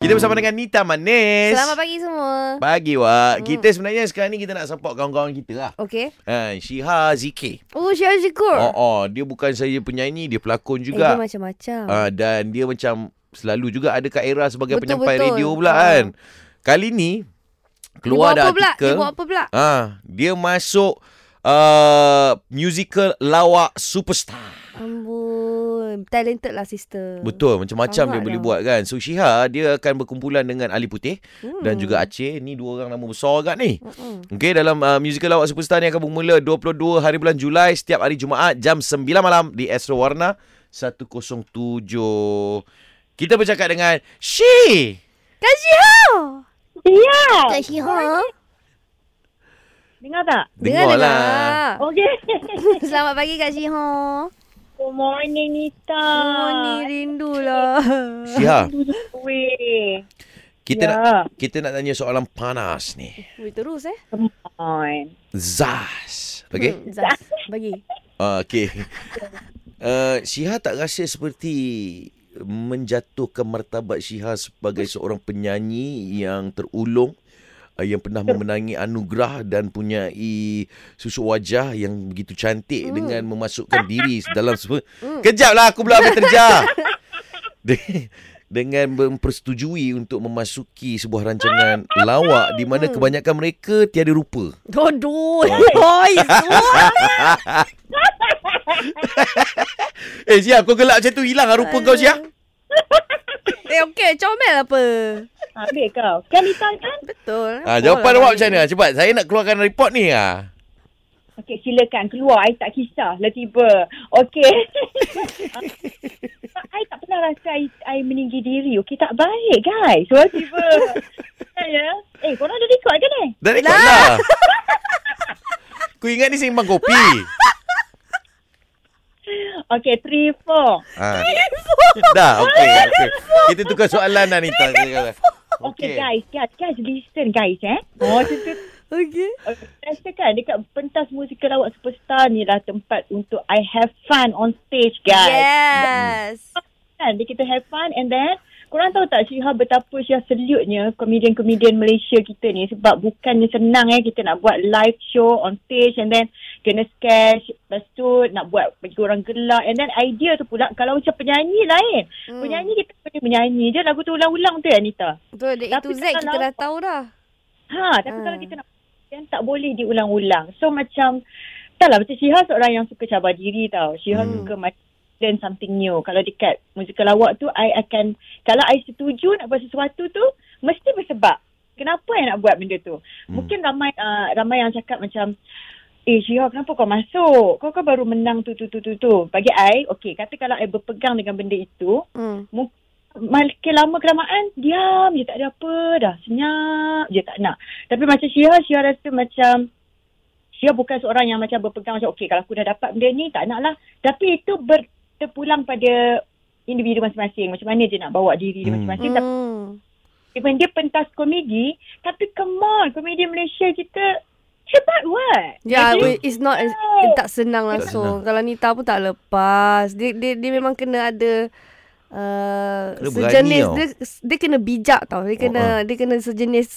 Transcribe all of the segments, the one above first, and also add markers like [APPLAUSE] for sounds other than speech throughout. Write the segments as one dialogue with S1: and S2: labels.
S1: Kita bersama dengan Nita Manis.
S2: Selamat pagi semua.
S1: Pagi Wak.
S2: Hmm.
S1: Kita sebenarnya sekarang ni kita nak support kawan-kawan kita lah.
S2: Okey.
S1: Ha, Shiha Zikir.
S2: Oh, Syah Zikur.
S1: Oh, oh, dia bukan saja penyanyi, dia pelakon
S2: Eh, dia
S1: juga.
S2: macam-macam.
S1: ha, dan dia macam selalu juga ada Kak Era sebagai
S2: Betul,
S1: penyampai
S2: betul.
S1: radio pula
S2: Ha.
S1: kan. Kali ni keluar
S2: dia buat
S1: dah
S2: apa pula?
S1: artikel.
S2: Dia buat apa pula?
S1: ha, dia masuk uh, musical lawak superstar.
S2: Amboi. Talented lah sister.
S1: Betul, macam-macam
S2: Lawak
S1: dia boleh
S2: dah.
S1: buat kan. So Shiha dia akan berkumpulan dengan Ali Putih
S2: Hmm.
S1: dan juga Aceh. Ni dua orang nama besar agak ni.
S2: Mm-mm.
S1: Okey dalam uh, musical lawak superstar ni akan bermula 22 hari bulan Julai setiap hari Jumaat jam 9 malam di Astro Warna 107. Kita bercakap dengan Shi.
S2: Kak Syiha.
S3: Ya,
S2: Kak Syiha.
S3: dengar tak?
S2: Dengar.
S3: Okey.
S1: lah.
S2: [LAUGHS] Selamat pagi Kak Syiha.
S3: Good morning, Nita.
S2: Oh, ni lah. rindulah.
S1: Shiha,
S3: Weh.
S1: ha. kita yeah. nak
S3: [LAUGHS] ya.
S1: kita nak tanya soalan panas ni.
S2: [LAUGHS] Weh, terus eh.
S3: Come on. [LAUGHS]
S1: Zaz. Okey.
S2: Hmm, Zaz. Bagi.
S1: Uh,
S2: [LAUGHS]
S1: Okey. Uh, Shiha tak rasa seperti menjatuhkan martabat Shiha sebagai seorang penyanyi yang terulung uh, yang pernah memenangi anugerah dan punyai susu wajah yang begitu cantik
S2: Hmm.
S1: dengan memasukkan diri dalam semua.
S2: Hmm.
S1: Kejaplah aku
S2: [LAUGHS]
S1: pula terja. De- dengan mempersetujui untuk memasuki sebuah
S2: [LAUGHS]
S1: rancangan lawak di mana
S2: Hmm.
S1: kebanyakan mereka tiada rupa.
S2: Dodoh. [LAUGHS] Oi, suara.
S1: Eh Syah kau gelak macam tu hilang lah rupa kau Syah.
S2: Eh, okey. Comel apa?
S3: Ambil kau. Kan Nita kan?
S2: Betul.
S1: Ah, jawapan awak macam mana? Cepat saya nak keluarkan report ni ah.
S3: Okey, silakan. Keluar. I tak kisah lah tiba. Okey. Ah, I tak pernah rasa I, I meninggi diri. Okey, tak baik guys. Tiba tiba. ya. Eh, korang ada record kan eh?
S1: Dah rekod
S2: [LAUGHS]
S1: lah. Ku ingat ni seimbang kopi.
S3: Okey, three, four.
S1: ha. Dah, okey. Okay. Kita tukar soalan dah ni. Okey.
S3: Okey, okay. guys, guys, guys, listen guys eh. Oh, macam tu
S2: Okey.
S3: Okay, Rasa kan dekat pentas musikal awak superstar ni lah tempat untuk I have fun on stage guys.
S2: Yes.
S3: Yeah. Kan dia kita have fun and then korang tahu tak Syihah betapa Syihah seliutnya komedian-komedian Malaysia kita ni sebab bukannya senang eh kita nak buat live show on stage and then kena sketch lepas tu nak buat bagi orang gelak and then idea tu pula kalau macam penyanyi lain
S2: Hmm.
S3: penyanyi kita boleh menyanyi je lagu tu ulang-ulang tu ya Anita
S2: Betul, dari itu
S3: Tapi
S2: Z kita
S3: kalau-
S2: dah tahu dah.
S3: Ha, tapi
S2: Ah.
S3: ha. kalau kita nak kan tak boleh diulang-ulang. So macam taklah macam Syiha seorang yang suka cabar diri tau. Syiha
S1: Hmm.
S3: hmm. suka macam learn something new. Kalau dekat musikal lawak tu I akan kalau I setuju nak buat sesuatu tu mesti bersebab. Kenapa I nak buat benda
S1: Hmm.
S3: tu? Hmm. Mungkin ramai uh, ramai yang cakap macam Eh Syiha kenapa kau masuk? Kau kau baru menang tu tu tu tu tu. Bagi I, okey kata kalau I berpegang dengan benda itu,
S2: Hmm.
S3: makin lama kelamaan diam je tak ada apa dah senyap je tak nak tapi macam Syia Syia rasa macam Syia bukan seorang yang macam berpegang macam okey kalau aku dah dapat benda ni tak nak lah tapi itu ber, terpulang pada individu masing-masing macam mana dia nak bawa diri dia
S1: Hmm.
S3: masing-masing tapi
S2: Hmm.
S3: even dia pentas komedi tapi come on komedi Malaysia kita hebat what
S2: Ya,
S3: Jadi-
S2: yeah, it's not it's, tak senang
S1: Tak
S2: langsung. Kalau Nita pun tak lepas. Dia dia, dia memang kena ada uh,
S1: Kena berani
S2: sejenis
S1: tau. ah.
S2: dia dia kena bijak tau. Dia kena oh, uh. dia kena sejenis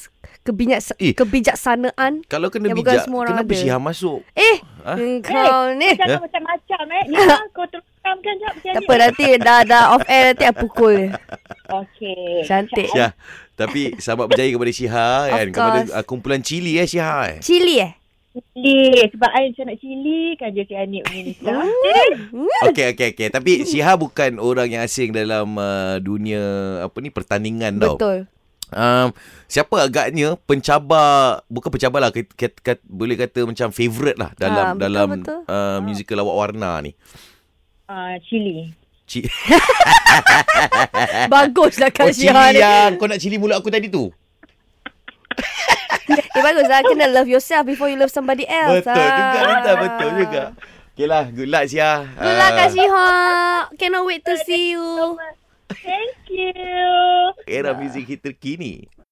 S2: kebijak
S1: Eh.
S2: kebijaksanaan.
S1: Kalau kena
S2: Yang Ya, bukan
S1: bijak,
S2: semua orang
S1: kenapa
S2: ada.
S1: Syihah masuk?
S2: Eh,
S1: Ah.
S2: ha? kau ni.
S3: jangan macam-macam eh Nina kau teruskan kan jap
S2: Tak apa nanti dah dah off air nanti aku pukul dia.
S3: okey
S2: Cantik.
S1: Syihah, tapi selamat berjaya kepada Syihah
S2: Of
S1: kan. Kepada
S2: course.
S1: uh, kumpulan Cili eh Syihah eh.
S2: Cili eh?
S3: Cili. Sebab I macam nak cili kan je si Anik punya Eh? Nita.
S1: Okey, okey, okey. Tapi Syihah bukan orang yang asing dalam uh, dunia apa ni pertandingan tau.
S2: Betul.
S1: Um, siapa agaknya pencabar bukan pencabar lah kat, kat, kat, boleh kata macam favourite lah dalam
S2: Ah, betul,
S1: dalam
S2: betul.
S1: Uh, musical lawak warna ni.
S3: Ah, cili.
S1: Cik, [LAUGHS] oh,
S2: Baguslah lah, Kak Syihah
S1: cili
S2: ni.
S1: yang kau nak cili mulut aku tadi tu.
S2: Eh baguslah kena love yourself before you love somebody else.
S1: Betul
S2: Ah.
S1: juga Nita, betul juga. Okay lah, good luck Syah. Ah,
S2: Good luck Kak Syiha. Cannot wait to see you.
S3: Thank you.
S1: Era muzik hit terkini.